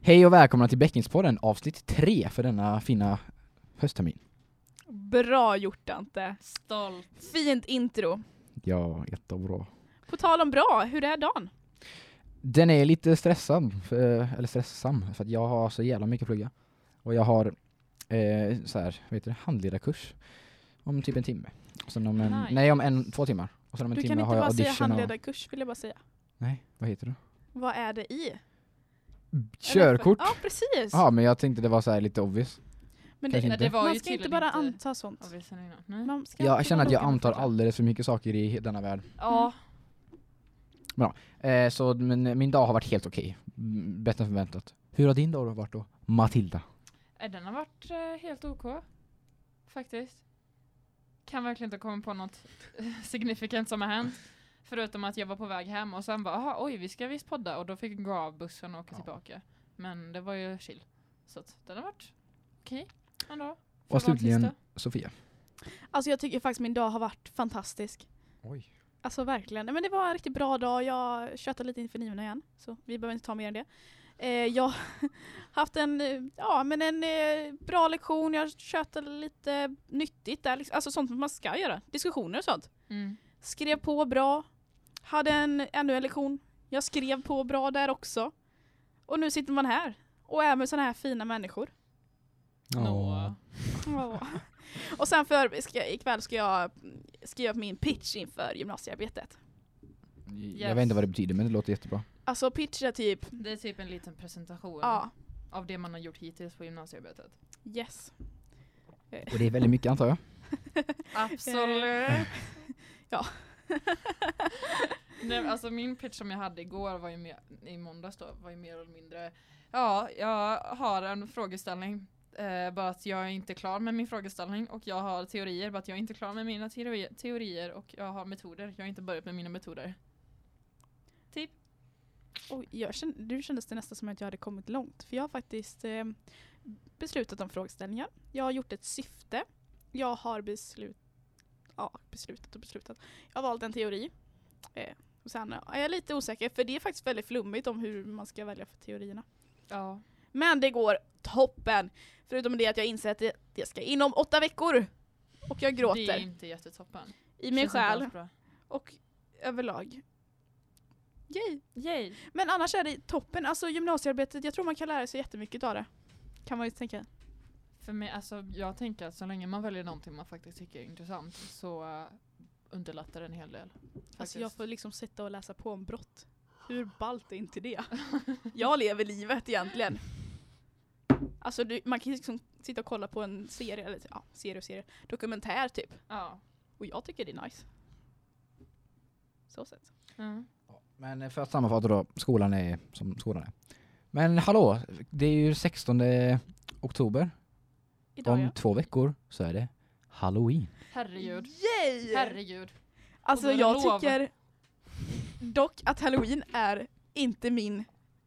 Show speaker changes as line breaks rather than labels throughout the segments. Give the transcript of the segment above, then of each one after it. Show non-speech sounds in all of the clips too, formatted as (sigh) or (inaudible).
Hej och välkomna till Bäckingspodden avsnitt 3 för denna fina hösttermin.
Bra gjort Dante.
Stolt.
Fint intro.
Ja, jättebra.
På tal om bra, hur är dagen?
Den är lite stressad, för, eller stressam, för att jag har så jävla mycket att plugga. Och jag har eh, så här, vet du, handledarkurs om typ en timme. Och sen om en,
Nice.
Nej, om en, två timmar. Och sen om en
Du kan
timme
inte
har jag
bara säga
audition och,
handledarkurs vill jag bara säga.
Nej, vad heter det?
Vad är det i?
Körkort?
Ja precis.
Ja, men jag tänkte det var så här lite obvious.
Men
kanske
det,
inte.
Nej, det var
man
ju
ska inte
tydligen
bara
inte-
anta sånt.
Ja, vi känner innan. Nej.
Man ska
Jag
inte
känner
vara
att jag
noga med
antar
fakta.
alldeles för mycket saker i denna värld.
Ja,
Eh, så min, min dag har varit helt okej. Mm, Bättre än förväntat. Hur har din dag då varit då? Matilda.
eh, den har varit eh, helt OK. Faktiskt. Kan verkligen inte komma på något eh, signifikant som har hänt. Förutom att jag var på väg hem och sen bara, aha, oj, vi ska visst podda. Och då fick jag gå av bussen och åka
Ja.
tillbaka. Men det var ju chill. Så att den har varit okej ändå. För att vara
Och slutligen
tisdag.
Sofia.
Alltså jag tycker faktiskt min dag har varit fantastisk.
Oj.
Alltså verkligen. Nej, Men det var en riktigt bra dag. Jag tjötade lite inför nivorna igen. Så vi behöver inte ta mer än det. Eh, jag har haft en, eh, ja, men en eh, bra lektion. Jag tjötade lite nyttigt där. liksom. Alltså sånt man ska göra. Diskussioner och sånt.
Mm.
Skrev på bra. Hade en, ännu en lektion. Jag skrev på bra där också. Och nu sitter man här. Och är med såna här fina människor.
Nå.
Ja. (laughs) och sen för, ska, ikväll ska jag skriva min pitch inför gymnasiearbetet.
Jag vet inte vad det betyder men det låter jättebra.
Alltså pitch är typ,
Det är typ en liten presentation
ja,
av det man har gjort hittills på gymnasiearbetet.
yes.
Och det är väldigt mycket antar jag.
Absolut.
Eh, (laughs) Ja.
(laughs) Nej, men alltså min pitch som jag hade igår var ju mer, i måndags då, var ju mer eller mindre Ja, jag har en frågeställning eh, bara att jag är inte klar med min frågeställning och jag har teorier bara att jag är inte klar med mina teori- teorier och jag har metoder. Jag har inte börjat med mina metoder. Typ.
Och jag kände, nu kändes det nästan som att jag hade kommit långt. För jag har faktiskt eh, beslutat om frågeställningar. Jag har gjort ett syfte. Jag har beslut, ja, beslutat och beslutat. Jag har valt en teori. Eh, och sen är jag lite osäker för det är faktiskt väldigt flummigt om hur man ska välja för teorierna.
Ja.
Men det går toppen! Förutom det att jag inser att det, det ska inom åtta veckor! Och jag
Det är
gråter
inte jättetoppen.
i min
Känns inte
själ
alls bra.
och överlag. Yay!
Yay.
Men annars är det toppen. Alltså gymnasiearbetet, jag tror man kan lära sig jättemycket av det. Kan man ju tänka.
För mig, alltså, jag tänker att så länge man väljer någonting man faktiskt tycker är intressant så eh, underlättar det en hel del.
Alltså
faktiskt.
jag får liksom sitta och läsa på om brott. Hur ballt är inte det? (laughs) Jag lever livet egentligen. Alltså du, man kan ju liksom sitta och kolla på en serie, eller ja, serie och serie, dokumentär typ.
Ja.
Och jag tycker det är nice. Så sett.
Mm.
Men eh, för att sammanfatta då, skolan är som skolan är. Men hallå, det är ju 16 oktober.
Idag
Om
ja.
två veckor så är det halloween.
Herregud.
Yay!
Herregud.
Alltså
Och då är det
jag
lov.
tycker dock att halloween är inte min,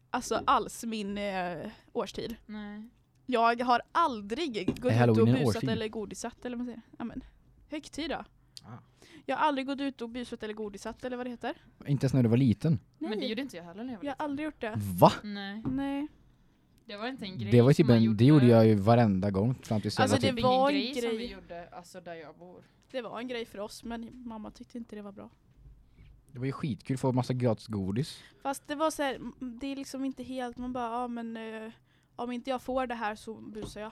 alltså alls min eh, årstid.
Nej.
Jag har aldrig gått ut och
halloween en
busat
årstid?
eller godisat eller vad man säger. Ja, men, högtid då.
Ah.
Jag har aldrig gått ut och busat eller godisat eller vad det heter.
Inte ens när du var liten.
Men det gjorde inte jag heller när jag var
jag har
liten.
aldrig gjort det.
Va?
Nej.
Nej.
Det var inte en grej
Det, var ju
som
typ
man
en,
gjorde.
det gjorde jag ju varenda gång fram tills jag
Alltså,
var typ
det
ingen
var en
grej, som
grej.
vi gjorde alltså, där jag bor.
Det var en grej för oss men mamma tyckte inte det var bra.
Det var ju skitkul, få massa gratis godis.
Fast det var så här, m- det är liksom inte helt, man bara ja men eh, om inte jag får det här så busar jag.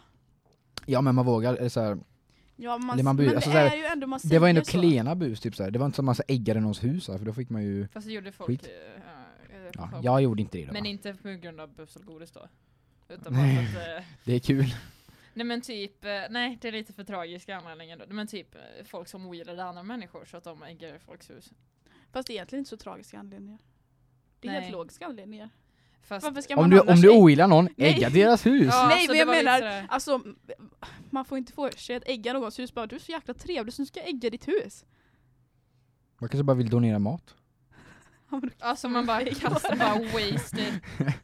Ja men man vågar, eller så här,
Ja, man,
Eller man bu-
men
alltså
det
så här,
är ju ändå, man
det var ändå
säger så.
klena bus typ så här. det var inte så massa äggar i någons hus här, för då fick man ju...
Fast det gjorde folk.
Skit.
eh, eh,
Ja,
folk.
jag gjorde inte det då.
Men
va?
inte på grund av bus och godis då. Utan bara
Nej.
för att, eh,
Det är kul.
Nej men typ, eh, nej det är lite för tragiska anledningar då. Men typ eh, folk som ogillade andra människor så att de äggar i folks hus.
Fast det är egentligen inte så tragiska anledningar. Det är
Nej.
helt logiska anledningar.
Fast,
Varför ska man
Om du,
annars
om du
ägg-
ogillar någon,
Nej.
ägga deras hus!
Ja,
Nej
så
men
det
jag
var lite
menar,
sådär.
(laughs)
alltså m- man får inte få sig att ägga någons hus bara du är så jäkla trevlig så nu ska jag ägga ditt hus.
Man kanske bara vill donera mat.
Alltså man bara kastar bara wasted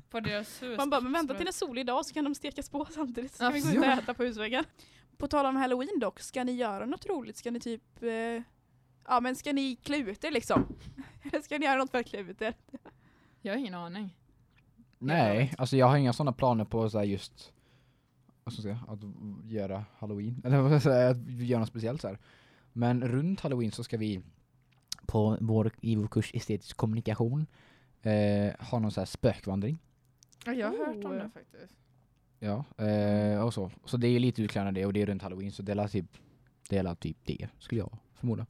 på deras hus.
Man bara men vänta till en solig dag så kan de stekas på samtidigt så ska vi gå ut och
Absolut.
äta på husväggen. På tal om halloween dock, ska ni göra något roligt? Ska ni typ eh, Ja men ska ni (laughs) klä ut er liksom? Eller ska ni göra något för att klä ut er?
Jag har ingen aning.
Nej, alltså jag har inga sådana planer på så här just vad ska jag säga, att v- göra halloween, (laughs) eller vad ska jag säga, att göra något speciellt så här. Men runt halloween så ska vi på vår, i vår kurs estetisk kommunikation eh, ha någon så här spökvandring.
Ja, Jag har hört om
Oh.
det faktiskt.
Ja, eh, och så. Så det är ju lite utklädande det och det är runt halloween så det är typ det, är typ det skulle jag förmoda.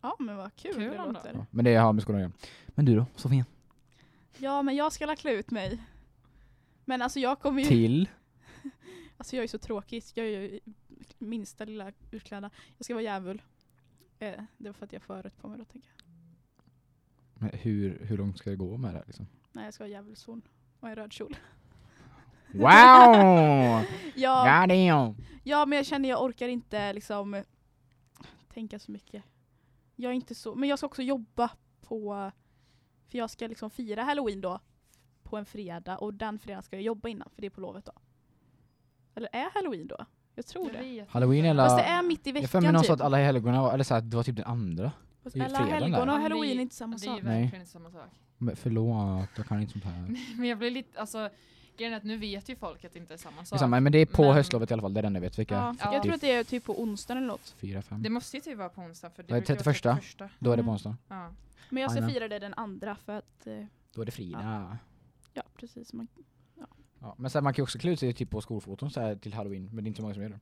Ja men vad kul,
Kul
det
ändå.
låter.
Ja, men det har med skolan att göra. Men du då, Sofia?
Ja men jag ska la klä ut mig. Men alltså jag kommer
(laughs)
ju,
Till?
alltså jag är så tråkig, jag är ju minsta lilla utklädda. Jag ska vara djävul. Eh, det var för att jag förut på mig då tänker jag.
Men hur, hur långt ska det gå med det här liksom?
Nej jag ska vara djävulshorn och en röd kjol. (laughs)
Wow!
Ja,
God damn!
ja men jag känner jag orkar inte liksom eh, tänka så mycket. Jag är inte så, men jag ska också jobba på, för jag ska liksom fira halloween då på en fredag och den fredagen ska jag jobba innan för det är på lovet då. Eller är halloween då? Jag tror det.
Halloween eller-
Fast det är mitt i
Jag för mig någon
veckan
sa att
typ.
alla helgona var, eller så här, det var typ den andra.
Fast
det är ju
Alla
fredagen där.
helgon och
Men det är-
halloween är inte samma
Det är
sak.
ju verkligen inte samma sak. (laughs)
Men förlåt, jag kan inte sånt
Mm,
här.
Men jag blir lite, alltså grejen är att nu vet ju folk att det inte är samma sak.
Samma, men det är på
Men-
höstlovet i alla fall, det är den jag vet vilka.
Ja,
Ja.
Jag tror att det är typ på onsdagen eller något.
Fyra, fem.
Det måste ju typ vara på onsdag för det
Ja,
brukar vara
31.
31.
Då är det på
Mm.
onsdag.
Ja.
Men jag ska
Amen.
fira det den andra för att, eh,
Då är det Frida. Ja.
ja precis. Man,
men sen man kan ju också klä ut sig typ på skolfoton så här till halloween, men det är inte så många som gör det.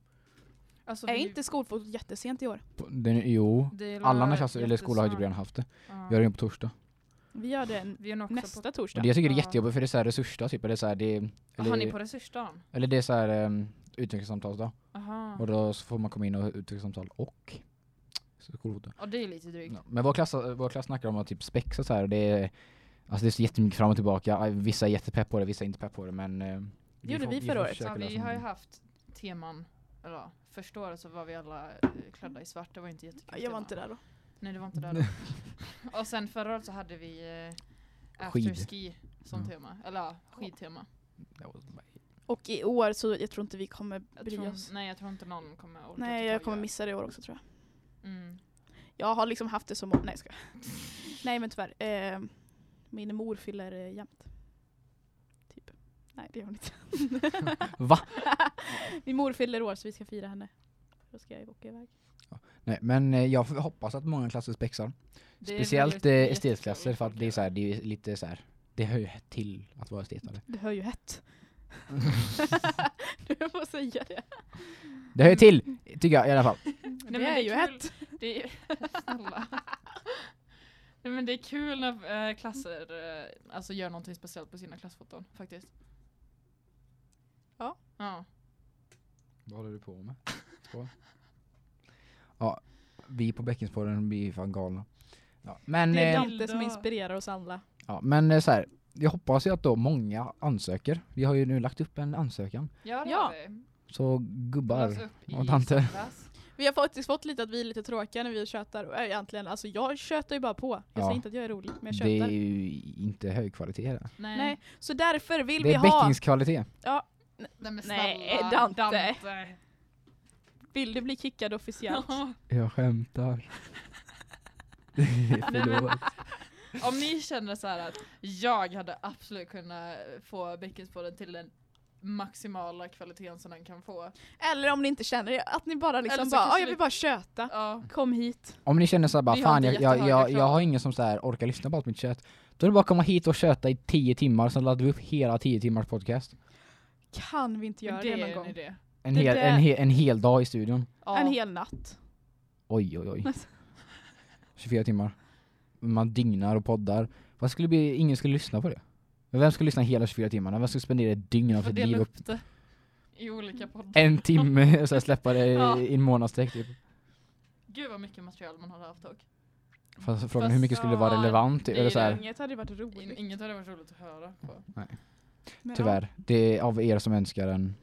Alltså,
är
vi-
inte skolfotot jättesent i år?
På- Den, jo,
det
alla
var
andra klasser eller skolor har ju
jättesnart.
typ redan haft det.
Ja.
Vi har det på torsdag.
Vi gör det n-
Vi har nog också
nästa
Och
torsdag.
det jag tycker det är
Ja.
jättejobbigt för det är så här resursdag typ, eller så här, det är,
på... Har ni
eller,
på resursdagen?
eller det är så här um, utvecklingssamtalsdag.
Aha.
Och då så får man komma in och utvecklingssamtal och skolfoto.
Och det är lite drygt.
Ja, Men vår klass, vår klass snackar om att typ spexa så här och det är, alltså det är så jättemycket fram och tillbaka. Vissa är jättepepp på det, vissa är inte pepp på det men... eh,
Det gjorde
får-
vi
får
förra året.
försöka
Ja, vi
lösa
har ju
någonting.
haft teman, eller ja, första året så var vi alla eh, klädda i svart, det var inte jättekul
Jag var
tema.
inte där då.
Nej det var inte där då.
(laughs)
Och sen förra året så hade vi eh,
Skid. Mm.
afterski som
Ja.
tema, eller ja, skidtema.
That was my-
Och i år så jag tror inte vi kommer
Jag
bry
tror,
oss.
nej jag tror inte någon kommer orka
Nej
ta
jag
tag i
kommer
det.
missa det i år också tror jag.
Mm.
Jag har liksom haft det som mål. Nej jag skojar. (laughs) Nej men tyvärr. Eh, min mor fyller eh, jämt. Typ. Nej det gör hon inte.
Va?
(laughs) min mor fyller år så vi ska fira henne. Då ska jag åka iväg.
Nej men eh, jag hoppas att många klasser spexar.
Det är
Speciellt eh,
väldigt-
estetklasser för att
jättekul.
det är så här, det är lite så här. Det hör ju till att vara estetare.
Det hör ju (laughs) hett. du får säga det.
Det hör ju till! Tycker jag i alla fall.
Nej,
det
men
är ju
kul.
hett. (laughs)
Det är, snälla. Nej men det är kul när eh, klasser eh, alltså gör någonting speciellt på sina klassfoton faktiskt.
Ja.
Ja.
Vad håller du på med? Skål. Ja, vi på Bäckensporren blir fan galna. Ja, men,
Det är
eh,
Dante som inspirerar oss alla.
Ja, men eh, så här, jag hoppas ju att då många ansöker. Vi har ju nu lagt upp en ansökan.
Ja det
Ja.
har vi.
Så
Alltså,
Lades
gubbar,
upp i
och tanter.
söndags.
Vi har faktiskt fått lite att vi är lite tråkiga när vi tjötar. Och, äh, Egentligen, alltså jag tjötar ju bara på. Jag
Ja.
säger inte att jag är rolig, men jag tjötar.
det är ju inte hög kvalitet det.
Nej.
Nej, så därför vill
Det
vi
är
ha...
bäckingskvalitet.
Nej men
Nej,
snälla,
Dante. Vill du bli kickad officiellt?
(laughs) Ja.
Jag skämtar. (laughs) Förlåt.
Om ni känner så här att jag hade absolut kunnat få Bäckenspodden till den maximala kvaliteten som den kan få.
Eller om ni inte känner det, att ni bara liksom
Eller så
bara,
kanske
"Ah, jag
ni-
vill bara köta.
Ja.
Kom hit.
Om ni känner såhär bara
Vi har
fan
inte
jag, jag,
jättehöga
jag, jag
krav.
har ingen som så här orkar lyssna på allt mitt kött. Då är det bara att komma hit och köta i 10 timmar, sen laddar vi upp hela 10 timmars podcast.
Kan vi inte göra
men
det,
det är
någon
en
gång?
idé.
En
Det
hel,
där-
en, he, en hel dag i studion.
Ja.
En hel natt.
Oj oj oj.
Alltså.
24 timmar. Man dygnar och poddar. Vad skulle bli, ingen skulle lyssna på det. Men vem skulle lyssna hela 24 timmarna? Vem skulle spendera ett dygn av
Får
sitt liv
dela
upp
upp det i olika poddar.
en timme
(laughs)
och sen släppa det
Ja.
i en månadsträck typ?
Gud vad mycket material man hade haft dock.
Fast frågan är
Fast,
hur mycket skulle det vara
ja,
relevant?
det är
eller
ju
så här,
Inget hade varit
In,
roligt.
inget hade varit roligt att höra på.
Men ja.
tyvärr. Det är av er som önskar en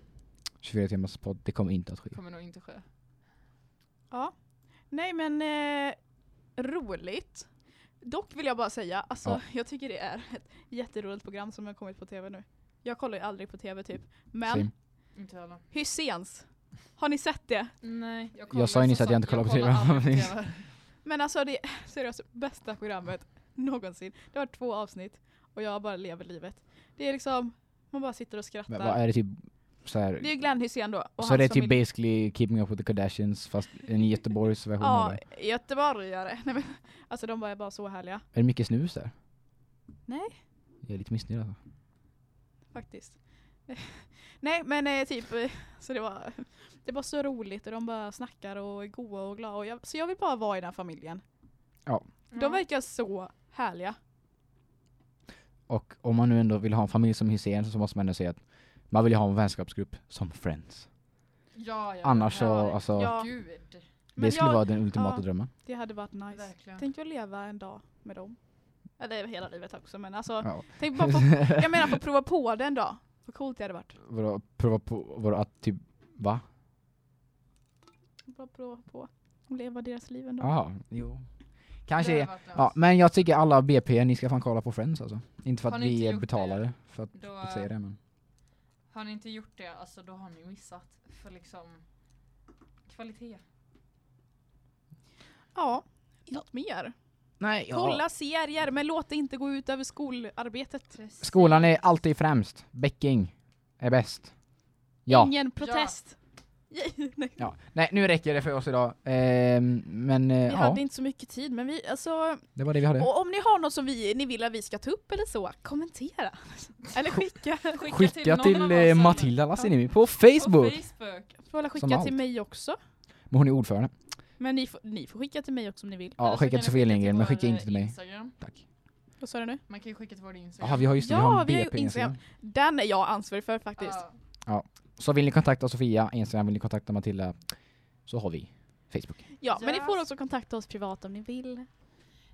24 timmars podd. Det kommer inte att ske.
kommer nog inte ske.
Ja. Nej men eh, roligt. Dock vill jag bara säga, alltså
Ja.
jag tycker det är ett jätteroligt program som har kommit på tv nu. Jag kollar ju aldrig på tv typ.
Same.
Men
Inte alla.
Hyséns, har ni sett det?
Nej, jag,
kollar sa ju nyss som att jag inte sagt- jag kollar på kollar TV. (laughs) aldrig på
Men alltså (laughs) det seriöst bästa programmet någonsin. Det har varit två avsnitt och jag bara lever livet. Det är liksom, man bara sitter och skrattar.
Men vad är det typ så här?
Det är ju alltså Glenn Hysén då. Och
så
hans
det är typ
familj.
basically keeping up with the Kardashians fast
(laughs)
en Göteborgsversion av
Ja,
det.
göteborgare. (laughs) Nej, men, alltså de bara är bara så härliga
Är det mycket snus där?
Nej.
Jag är lite missnöjd alltså.
faktiskt. (laughs) Nej men eh, typ, (laughs) eh, så det var, det var så roligt och de bara snackar och är goa och glada. Och jag, så jag vill bara vara i den här familjen.
Mm.
De verkar så härliga.
Och om man nu ändå vill ha en familj som Hysén så måste man ändå säga att man vill ju ha en vänskapsgrupp som Friends.
ja, ja,
Annars så,
ja,
alltså,
ja.
Gud,
det
Men
skulle
jag,
vara den ultimata
ja.
drömmen.
det hade varit nice.
verkligen.
Tänk att leva en dag med dem. Eller hela livet också men alltså,
Ja.
tänk bara få,
(laughs)
jag menar få prova på det en dag. Vad coolt det hade varit.
Vadå, prova på, vadå, att typ, va?
Bara prova på och leva deras liv en dag.
Jaha, jo.
det
Kanske,
hade varit
ja,
nice.
men jag tycker alla BP, ni ska fan kolla på Friends alltså. Inte för
Har
att
ni inte
vi
gjort det?
betalar det, för att
Då,
att säga det men.
Har ni inte gjort det, alltså då har ni missat. För liksom kvalitet.
Ja, något mer.
Nej,
Kolla serier men låt det inte gå ut över skolarbetet.
Precis.
Skolan är alltid främst. Bäcking är bäst. Ja.
Ingen protest. Yay. (laughs) Nej.
ja. Nej, nu räcker det för oss idag. Ehm, men eh,
Vi
ja, Eh.
hade inte så mycket tid men vi, alltså,
det var det vi hade.
och om ni har något som vi, ni vill att vi ska ta upp eller så,
(laughs)
kommentera. Eller skicka.
Skicka,
Skicka
någon av
till
oss
eh,
eller-
Matilda Lassinimi på
På
Facebook!
Facebook.
Får alla
Som
skicka
allt.
till mig också.
Men hon är ordförande.
Men ni får, ni får skicka till mig också om ni vill.
Ja,
Eller så
skicka
kan
till
ni
Sofia Lindgren men
vår,
skicka inte till
eh,
mig.
Instagram.
Tack.
Vad sa du nu?
Man kan ju skicka till vår Instagram.
Jaha, vi har just det, vi
Ja,
har en
vi har ju
BP Instagram.
Den är jag ansvarig för faktiskt.
Ja.
Så vill ni kontakta Sofia, Instagram, vill ni kontakta Matilda, så har vi Facebook.
Ja, men ni får
Yes.
också kontakta oss privat om ni vill.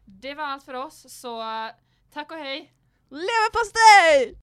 Det var allt för oss, så eh, tack och hej!
Leverpastej!